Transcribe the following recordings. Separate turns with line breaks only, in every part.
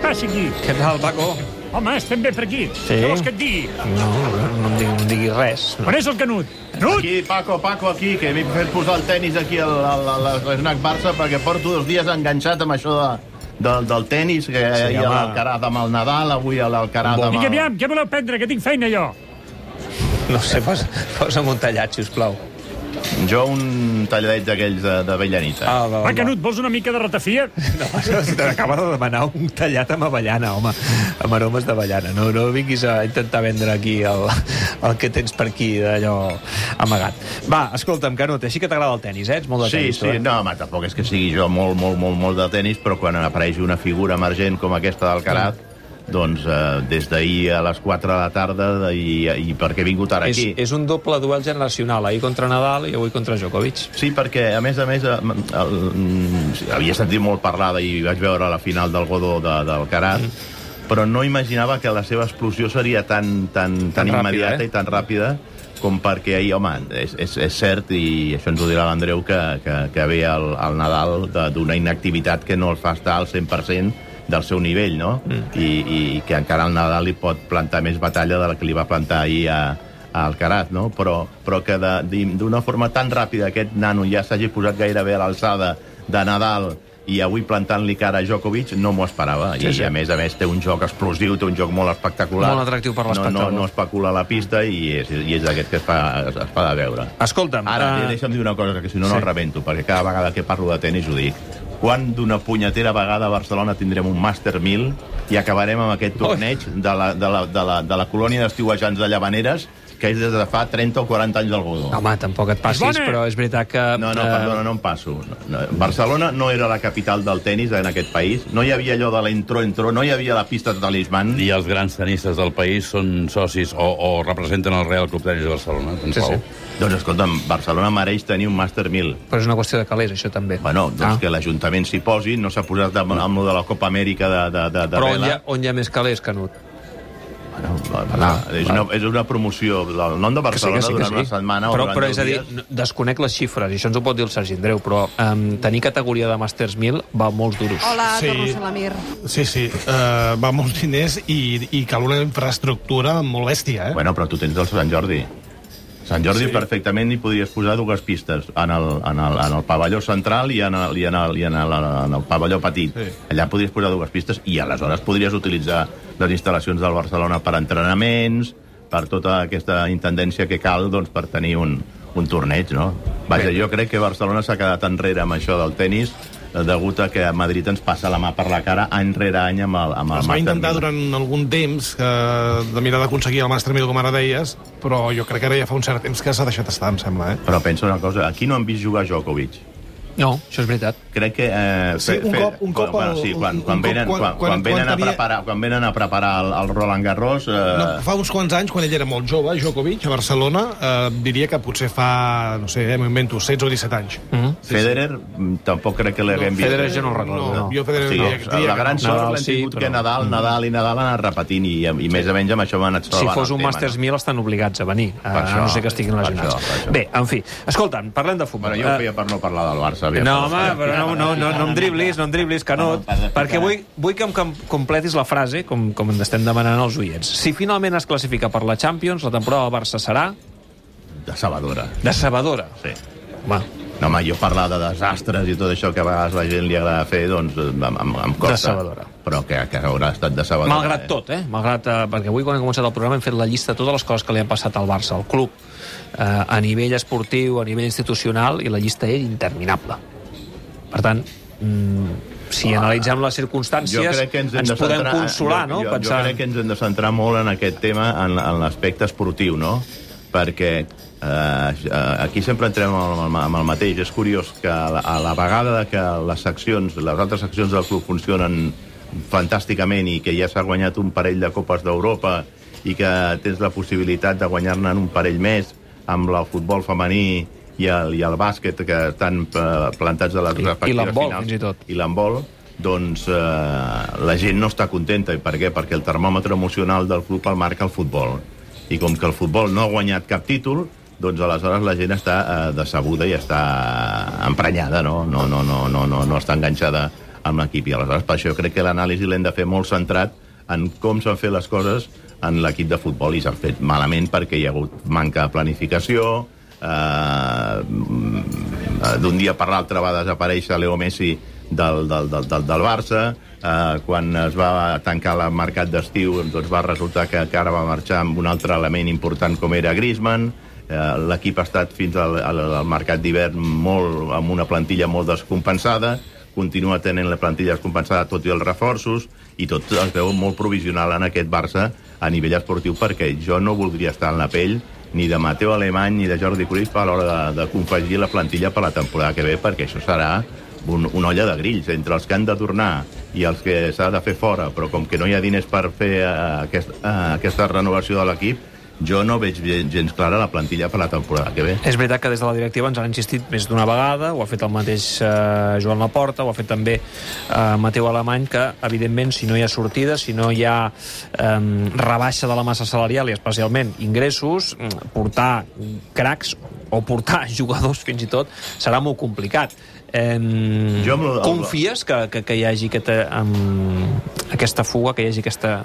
passi aquí?
Què tal, Paco?
Home, estem bé per aquí.
Sí?
Què vols que et digui?
No, no em digui, no em digui res. No.
On és el Canut? Canut!
Aquí, Paco, Paco, aquí, que m'he fet posar el tennis aquí al- al- al- a l'Snac Barça perquè porto dos dies enganxat amb això de, del, del tennis, que sí, ahir a
home.
l'Alcaraz amb el Nadal, avui a l'Alcaraz amb
Vinga,
el...
aviam, què voleu prendre, que tinc feina jo.
No sé, posa, posa'm un tallat, sisplau.
Jo un talladet d'aquells de, de Bellanissa.
Ah,
Va, Canut, vols una mica de ratafia?
No, T'acaba de demanar un tallat amb avellana, home, amb aromes d'avellana. No, no vinguis a intentar vendre aquí el, el que tens per aquí d'allò amagat. Va, escolta'm, Canut, així que t'agrada el tennis, eh? Ets molt de
Sí,
tennis,
sí,
tu, eh?
no, home, tampoc és que sigui jo molt, molt, molt, molt de tennis, però quan apareix una figura emergent com aquesta d'Alcaraz, doncs eh, des d'ahir a les 4 de la tarda i, i perquè he vingut ara
És,
aquí.
és un doble duel generacional, ahir contra Nadal i avui contra Djokovic.
Sí, perquè, a més a més, eh, m- el, mm, sí, havia sentit molt parlar i vaig veure la final del Godó de, del Carat,
Mm.
però no imaginava que la seva explosió seria tan, tan, tan,
Tan ràpida,
immediata
eh?
i tan ràpida com perquè ahir, home, és, és, és cert, i això ens ho dirà l'Andreu, que, que, que ve el, el Nadal de- d'una inactivitat que no el fa estar al 100% del seu nivell, no? Mm. I, I que encara el Nadal li pot plantar més batalla de la que li va plantar ahir a, a Alcaraz, no? Però, però que de- d'im- d'una forma tan ràpida aquest nano ja s'hagi posat gairebé a l'alçada de Nadal i avui plantant-li cara a Djokovic no m'ho esperava. Sí, I,
sí.
a més a més té un joc explosiu, té un joc molt espectacular.
Molt atractiu per l'espectador.
No, no, no especula la pista i és, i és d'aquest que es fa, es, es fa de veure.
Escolta'm,
Ara,
eh,
uh... deixa'm dir una cosa, que si
sí.
no, no el rebento, perquè cada vegada que parlo de tennis ho dic. Quan d'una punyetera vegada a Barcelona tindrem un Master 1000 i acabarem amb aquest torneig de la, de la, de la, de la colònia d'estiuejants de Llavaneres, que és des de fa 30 o 40 anys del Godó.
Home, tampoc et passis,
És bona.
però és veritat que...
No, no,
eh,
perdona, no em passo. No, no. Barcelona no era la capital del tennis en aquest país. No hi havia allò de l'entro-entro, no hi havia la pista de talisman.
I els grans tenistes del país són socis o, o representen el Real Club Tenis de Barcelona.
Sí,
Ens sí,
sí.
Doncs escolta'm, Barcelona mereix tenir un Master 1000.
Però és una qüestió de calés, això també.
Bueno, doncs
Ah.
que l'Ajuntament s'hi posi, no s'ha posat amb, amb lo de la Copa Amèrica de, de, de, de
Però on
vela.
hi, ha, on hi ha més calés, Canut?
Bueno, va, va, és, una, és una promoció del nom de Barcelona durant una setmana
però,
o durant
però
deu
és a dir,
dies.
no- desconec les xifres, i això ens ho pot dir el Sergi Andreu, però um, tenir categoria de Masters 1000 va molts duros.
Hola,
Sí.
sí. torno a ser la Mir.
Sí, sí, uh, va molts diners i, i cal una infraestructura molt bèstia, eh?
Bueno, però tu tens el Sant Jordi. Sant Jordi sí. perfectament hi podries posar dues pistes, en el, en el, en el pavelló central i en el, i en el, i en el, en el pavelló petit. Sí.
Sí.
Allà podries posar dues pistes i aleshores podries utilitzar les instal·lacions del Barcelona per entrenaments, per tota aquesta intendència que cal doncs, per tenir un, un torneig, no? Vaja, jo crec que Barcelona s'ha quedat enrere amb això del tennis eh, degut a que a Madrid ens passa la mà per la cara any rere any amb el, amb el
es va
Master
intentar
Mil.
durant algun temps que, de mirar d'aconseguir el Master 1000, com ara deies, però jo crec que ara ja fa un cert temps que s'ha deixat estar, em sembla, eh?
Però pensa una cosa, aquí no han vist jugar Djokovic.
No, això és veritat.
crec que... Eh,
Sí, un cop- un cop
bueno,
el-
sí, quan,
un-
quan,
un cop
venen,
quan-
quan,
quan-
quan, venen
quan
a
tenia-
preparar, quan venen a preparar el, el Roland Garros... Eh,
No, fa uns quants anys, quan ell era molt jove, Djokovic, a Barcelona, eh, diria que potser fa, no sé, eh, m'ho invento, 16 o 17 anys. Mm -hmm.
Federer mm, tampoc crec que l'haguem vist.
Federer jo no ho recordo, no.
Jo Federer
Sí,
diria, diria
la
que
gran
no.
sort
Nadal
l'hem
sí,
tingut
però-
que Nadal, Nadal i Nadal han anat repetint i, i més o menys amb això m'han anat
si
salvant
fos
el
un
tema,
Masters
no?
1000 estan obligats a venir, a,
Per
a no
això,
ser que estiguin
per
lesionats.
això, per això.
Bé, en fi, escolta'm, parlant de futbol...
Bueno, jo ho
eh,
feia per no parlar del Barça. havia
No,
parlat.
home, però no, no, no, no em driblis, no em driblis, Canut,
No, no, per de-
perquè vull, vull que em com- completis la frase, com, com ens estem demanant als oients. Si finalment es classifica per la Champions, la temporada del Barça serà
De Sabadora,
decebedora.
sí.
Home,
No, home, jo parlar de desastres i tot això que a vegades la gent li agrada fer, doncs eh, em, em, em costa.
Decebedora.
Però que, que haurà estat decebedora.
malgrat tot, eh? Malgrat, eh, perquè avui quan hem començat el programa hem fet la llista de totes les coses que li han passat al Barça, al club, eh, a nivell esportiu, a nivell institucional, i la llista és interminable. Per tant, mm, si analitzem les
jo
circumstàncies,
crec que ens, hem de
podem
centrar,
consolar,
jo,
no?
Jo, jo crec que ens hem de centrar molt en aquest tema, en, en l'aspecte esportiu, no? Perquè eh, eh, aquí sempre entrem amb el, amb el mateix. És curiós que a la, a la vegada que les seccions, les altres seccions del club funcionen fantàsticament i que ja s'ha guanyat un parell de Copes d'Europa i que tens la possibilitat de guanyar-ne en un parell més amb el futbol femení i el, i el bàsquet que estan eh, plantats a les
I- i
respectives
l'handbol,
finals
fins i tot.
i l'embol, doncs eh, la gent no està contenta. I per què? Perquè el termòmetre emocional del club el marca el futbol. I com que el futbol no ha guanyat cap títol, doncs aleshores la gent eh, està eh, decebuda i està emprenyada, no? No, no, no, no, no, no està enganxada amb l'equip. I aleshores, per això crec que l'anàlisi l'hem de fer molt centrat en com s'han fet les coses en l'equip de futbol i s'han fet malament perquè hi ha hagut manca de planificació, eh, eh, d'un dia per l'altre va desaparèixer Leo Messi del, del, del, del, del Barça, eh, quan es va tancar el mercat d'estiu doncs va resultar que, que ara va marxar amb un altre element important com era Griezmann, eh, l'equip ha estat fins al, al, al mercat d'hivern molt amb una plantilla molt descompensada, continua tenint la plantilla descompensada tot i els reforços, i tot es veu molt provisional en aquest Barça a nivell esportiu, perquè jo no voldria estar en la pell ni de Mateo Alemany ni de Jordi Cruyff a l'hora de, de confegir la plantilla per la temporada que ve, perquè això serà un, una olla de grills entre els que han de tornar i els que s'ha de fer fora, però com que no hi ha diners per fer eh, aquest, eh, aquesta renovació de l'equip, jo no veig gen- gens clara la plantilla per la temporada que ve.
És veritat que des de la directiva ens han insistit més d'una vegada, ho ha fet el mateix eh, Joan Laporta, ho ha fet també eh, Mateu Alemany, que, evidentment, si no hi ha sortida, si no hi ha eh, rebaixa de la massa salarial i especialment ingressos, mm, portar cracs o portar jugadors fins i tot serà molt complicat. Eh,
Jo amb el-
confies que, que, que hi hagi aquest, um, aquesta fuga, que hi hagi aquesta,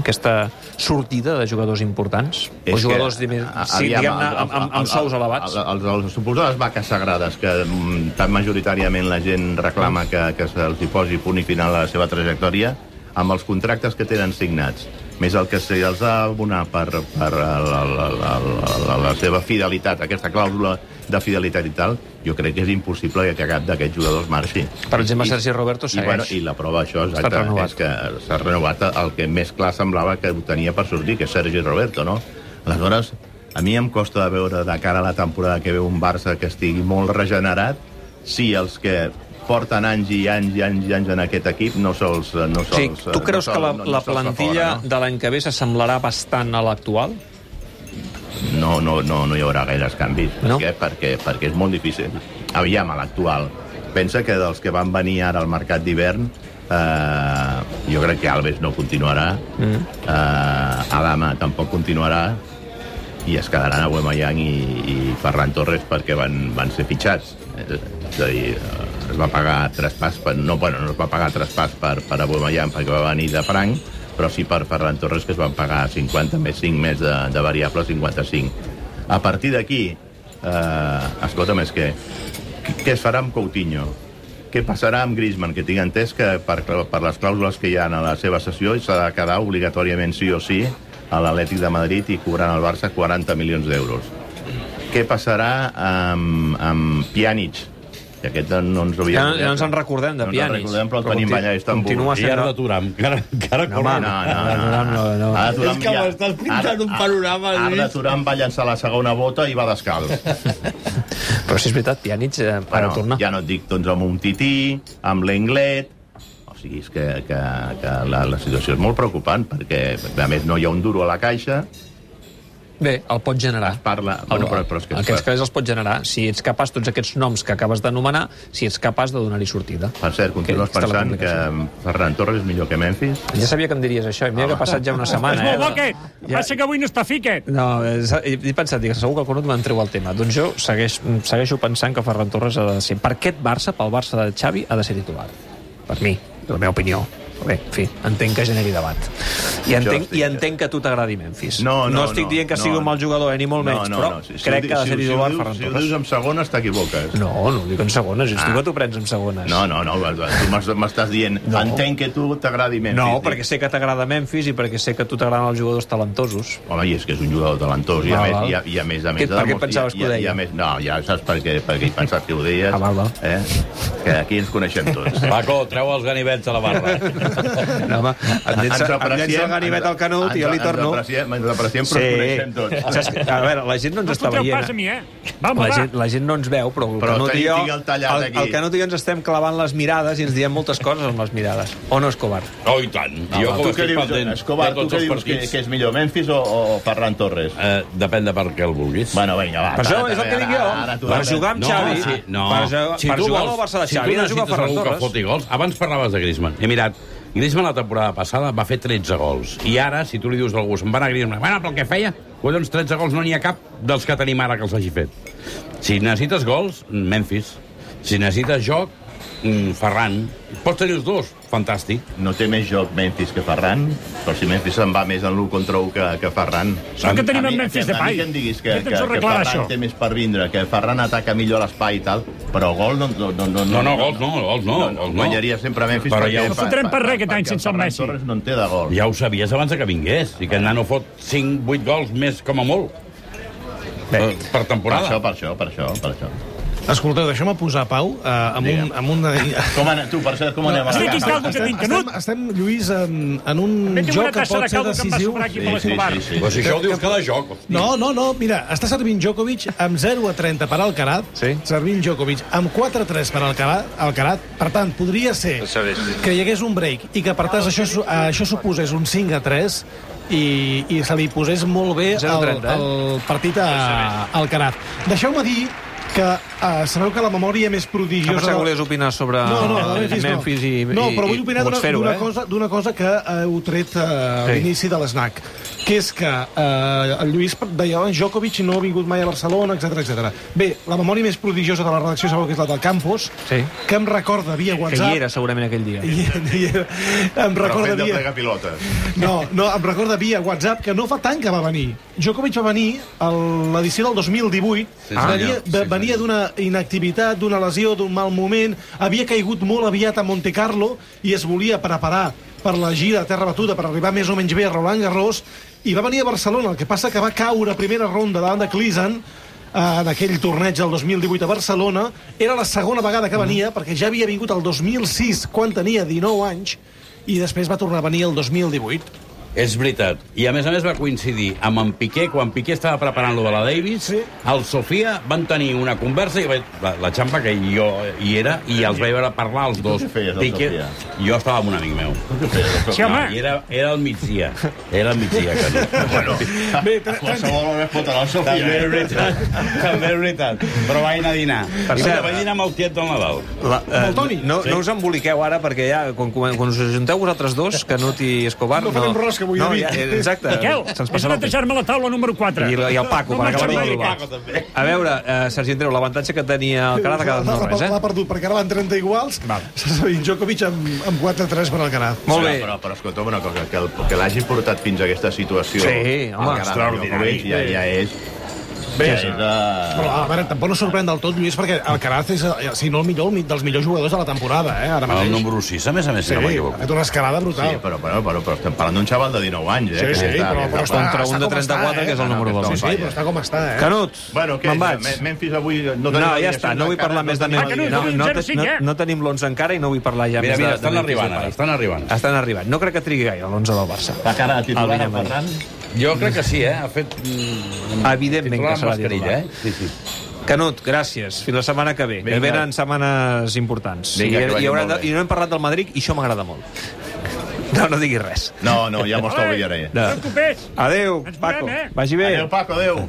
aquesta sortida de jugadors importants?
És
o jugadors,
que,
diguem-ne,
a-
sí,
aviam,
diguem
el-
amb, amb,
el-
amb sous
el-
elevats?
el- Els, els suposades vaques sagrades que mm, tan majoritàriament la gent reclama que, que se'ls hi posi punt i final a la seva trajectòria, amb els contractes que tenen signats, més el que se'ls ha d'abonar per, per la, la, la, la, la, la seva fidelitat, aquesta clàusula de fidelitat i tal, jo crec que és impossible que cap d'aquests jugadors marxi.
Per exemple,
I-
Sergi Roberto segueix.
I, bueno, I la prova això, exacte,
renovat.
és que s'ha renovat el que més clar semblava que ho tenia per sortir, que és Sergi Roberto, no? Aleshores, a mi em costa de veure de cara a la temporada que veu un Barça que estigui molt regenerat si els que porten anys i anys i anys i anys en aquest equip no se'ls... No
O sigui,
se'ls
tu creus
eh, no
que la,
se'ls-
la
se'ls fa
plantilla
fora,
de l'any que ve s'assemblarà bastant a l'actual?
no? No, no, no, no hi haurà gaires canvis.
No?
No? Què? Perquè, perquè és molt difícil. Aviam, a l'actual. Pensa que dels que van venir ara al mercat d'hivern, eh, jo crec que Alves no continuarà, mm. eh, Adama tampoc continuarà, i es quedaran a Guemayang i, i Ferran Torres perquè van, van ser fitxats. Eh, És a dir, eh, es va pagar traspàs, per, no, bueno, no es va pagar traspàs per, per a Guemayang perquè va venir de franc, però sí per Ferran Torres que es van pagar 50 més 5 més de, de variable, 55. A partir d'aquí, eh, escolta'm, és que què es farà amb Coutinho? Què passarà amb Griezmann, que tinc entès que per, per les clàusules que hi ha a la seva sessió s'ha de quedar obligatòriament sí o sí a l'Atlètic de Madrid i cobrant al Barça 40 milions d'euros. Què passarà amb, amb Pjanic? Que aquest no ens ho havíem
Ja,
oblidat.
ja ens en recordem, de
No ens en
Pjanic.
recordem, però el
Però
tenim
conti-
allà a Istanbul.
continua
I ara d'aturar, encara, encara
No,
no,
home,
corre.
No, no, no, no, no.
no.
Ara Turam
És que
ja-
m'estàs pintant
ara-
un panorama,
Ara, ara
Lluís.
Turam va llançar la segona bota i va descalç.
Però si és veritat, Pjanic eh, ara
Bueno,
torna.
Ja no et dic, doncs, amb un tití, amb l'englet... O sigui, és que, que, que la, la situació és molt preocupant, perquè, a més, no hi ha un duro a la caixa,
Bé, el pot generar.
parla...
El,
bueno, però, però és que...
aquests calés els pot generar. Si ets capaç, tots aquests noms que acabes d'anomenar, si ets capaç de donar-hi sortida.
Per cert, continues
Aquesta és la
pensant que
complicació.
Ferran Torres és millor que Memphis?
Ja sabia que em diries això, i mira que ha passat ja una
És
setmana.
molt bo,
eh?
aquest. Passa que avui no està fi, aquest.
No, eh, sa- he he pensat, dic, segur que el Conut me'n treu el tema. Doncs jo segueix, segueixo pensant que Ferran Torres ha de ser... Per aquest Barça, pel Barça de Xavi, ha de ser titular. Per mi, la meva opinió. Bé, en fi, entenc que generi debat. I entenc,
estic-
i entenc que a tu t'agradi Memphis.
No, no,
no estic
no,
dient que
no,
sigui un
no.
mal jugador, eh, ni molt menys, però
ho
crec
di-
que ha de ser
ho
titular
dius-
Ferran
Si ho
Torres.
dius en segones, t'equivoques.
No, no ho dic en segones, ah.
Ah.
tu que t'ho prens en segones.
No, no, no, tu m'has- m'estàs dient,
No.
entenc que tu t'agradi Memphis.
no
Dic,
perquè sé que t'agrada Memphis i perquè sé que a tu t'agraden els jugadors talentosos.
Home, i és que és un jugador talentós, i a,
Val,
més,
val.
i a, i a més a
Què-
més...
per què
demostra-
pensaves
i-
que ho
i a- i a
deia?
més, no, ja saps per què, per què he pensat que ho deies.
Ah, val, val.
Eh? Que aquí ens coneixem tots.
Paco, treu els ganivets a la barra.
No, home, em llença, em llença el ganivet al canut i jo li torno...
Ens apreciem, ens apreciem però sí. ens coneixem tots.
Saps que- A veure, la gent no ens
No
està
escolteu
veient.
pas a
eh?
mi, eh? Va, home,
La
va.
gent, la gent no ens veu, però, el
Però
Canut i
tinc-
jo,
tinc el tallat
el,
aquí.
el Canut i jo ens estem clavant les mirades i ens diem moltes coses amb les mirades. O no, Escobar?
Oh, i tant. jo com
tu què
estic
dius,
pendent
Escobar,
de
tu
tots
què
els
dius que,
partits...
que és millor, Memphis o, o Ferran Torres?
Eh, depèn de per què el vulguis.
Bueno, vinga, va.
Per això
ara,
és el que
ara,
dic jo.
ara, ara tu
Per
depèn.
jugar amb Xavi,
sí, no.
per ju- per
tu
jugar
vols-
al Barça de
si
Xavi,
tu
ha de jugar
necessites
Ferran
algú que
Torres.
foti gols, abans parlaves de Griezmann. He mirat, Griezmann la temporada passada va fer 13 gols. I ara, si tu li dius a algú, se'n va anar a Griezmann, bueno, però el que feia? Collons, 13 gols no n'hi ha cap dels que tenim ara que els hagi fet. Si necessites gols, Memphis. Si necessites joc, mm, Ferran, pots tenir els dos, fantàstic.
No té més joc Memphis que Ferran, però si Memphis se'n va més en l'1 contra 1 que, que Ferran.
Sort que
A
tenim
mi-
en Memphis
a mi-
Depay.
A mi que em diguis que,
Aquest
que,
ens ho
que
arreglarà,
Ferran
això.
té més per vindre, que Ferran ataca millor l'espai i tal, però gol no... No, no, no,
No, no, gols no, gols no,
No, no,
gols no.
guanyaria sempre Memphis.
Però
perquè
ja ho
fa-
fa-
fotrem per res
fa-
aquest any
perquè el
sense el
Ferran
Messi.
Torres no en té de gol.
Ja ho sabies abans de que vingués, i que el nano fot 5, 8 gols més com a molt.
Bé.
Eh,
Per
Per
això,
temporada.
per això, per això, per això.
Escolteu, deixeu-me posar pau eh, amb, un,
Digue'm.
amb una...
Com anem, tu, per cert, com anem? a la
Estic
casa?
caldo que tinc canut.
Estem, estem, Lluís, en, en un
Bé, tinc una
joc que
tassa de
pot ser
caldo que em va
decisiu.
sobrar aquí per
Sí, sí,
l'Escobar.
sí, sí.
Però si això ho dius cada joc. hosti.
No, no, no, mira, està servint Djokovic amb 0 a 30 per Alcaraz,
Sí.
servint Djokovic amb 4 a 3 per Alcaraz, Alcaraz, per tant, podria ser que hi hagués un break i que, per tant, això, su- això suposés un 5 a 3 i, i se li posés molt bé
0 a 30,
el,
eh?
el partit a, a Alcaraz. Deixeu-me dir que eh, sabeu que la memòria més
Em
prodigiosa...
pensava que
de-
volies opinar sobre
no, no, de Memphis, no.
Memphis i,
no,
i-
però vull
i
opinar d'una
pots fer-ho,
d'una
eh?
cosa, d'una cosa que eh, heu tret eh, a
Sí.
l'inici de l'esnac, que és que eh, el Lluís deia oh, Djokovic no ha vingut mai a Barcelona, etc etc. Bé, la memòria més prodigiosa de la redacció sabeu que és la del Campos,
Sí.
que em recorda via
Que hi
WhatsApp...
era segurament aquell dia.
hi era. Hi era. Em
Però
recorda
fent de
via...
plega pilotes.
No, no, em recorda via WhatsApp que no fa tant que va venir. Djokovic va venir a l'edició del 2018.
Sí,
Ah,
senyor.
venia
Sí,
ve-
senyor.
venia d'una inactivitat, d'una lesió, d'un mal moment. Havia caigut molt aviat a Monte Carlo i es volia preparar per la gira a Terra Batuda, per arribar més o menys bé a Roland Garros, i va venir a Barcelona. El que passa que va caure a primera ronda davant de Clisen, en aquell torneig del 2018 a Barcelona. Era la segona vegada que
Mm-hmm.
venia, perquè ja havia vingut el 2006, quan tenia 19 anys, i després va tornar a venir el 2018.
És veritat. I a més a més va coincidir amb en Piqué, quan Piqué estava preparant lo de la Davis,
Sí.
el Sofia van tenir una conversa i vaig, la, la xampa que jo hi era i els vaig veure parlar els dos.
què feies, al Sofia?
Jo estava amb un amic meu.
Sí, home.
I era, era el migdia. Era el migdia. Que bueno,
Bé,
A Qualsevol hora es fotrà el Sofia.
també és veritat. També és veritat. Però vaig anar a dinar. I mira,
cert,
vaig dinar amb el tiet del Nadal.
La, eh,
el Toni?
No, no us emboliqueu ara, perquè ja, quan, quan, quan us ajunteu vosaltres dos, Canut i Escobar...
No farem rosca avui,
no,
David.
ja, eh, exacte.
Miquel,
Se'ns
has
passa
de
el temps.
netejar-me la taula número 4.
I, la- I el Paco,
No
per
me'n
acabar
serveix,
de
Paco,
robar. A veure, eh, Sergi Andreu, l'avantatge que tenia el Carat ha quedat
L'ha-
no res,
l'ha- L'ha
eh?
perdut, perquè ara van 30 iguals.
Val.
S'ha sabit Djokovic amb, amb 4-3 per al Canadà.
Molt bé.
Però, però, però escolta'm una cosa, que, el- que l'hagi portat fins a aquesta situació...
Sí, home,
el
extraordinari.
Djokovic Ja, ja és... Bé, és,
Però,
uh...
a veure, tampoc no sorprèn del tot, Lluís, perquè el Caraz és, eh, si no el millor, el mi- dels millors jugadors de la temporada, eh, ara mateix.
El Ah, número 6, a més a més,
Sí,
si no
ha
m'equivoco.
fet una escalada brutal.
Sí, però, però, però, però estem parlant d'un xaval de 19 anys, eh?
Sí,
que
sí,
està-
però-
que està
però està-
Contra un
està
de
com
34,
està,
que és el
eh?
número
No, no,
Sí,
2.
sí, però està com està, eh?
Canut,
Bueno, què?
me'n vaig.
Me- Memphis avui... No,
No,
tenim
ja
alineacions
està, no vull
encara,
parlar més de
tenim
Ah, que
Memphis.
no,
No,
no,
no,
zero,
te-
cinc,
no,
eh?
no tenim l'11 encara i no vull parlar ja més
Mira,
de,
mira,
de
estan
Memphis.
arribant ara, estan arribant.
Estan arribant. No crec que trigui gaire l'11 del Barça.
La cara de
Al
titular,
Vinyamar.
Ferran.
Jo crec que sí, eh? Ha fet... mm,
Evidentment
titular
que serà
amb
titular.
mascarilla, Eh? Sí, sí.
Canut, gràcies. Fins la setmana que ve.
Vinga.
Que venen setmanes importants.
Vinga,
I-
que vagi
i, haurà
molt
de-
bé.
I no hem parlat del Madrid i això m'agrada molt. No, no diguis res.
No, no, ja m'ho estalviaré.
No.
No. us preocupeu.
Adéu,
Ens veurem,
Paco.
eh?
Vagi bé.
Adéu, Paco, adéu.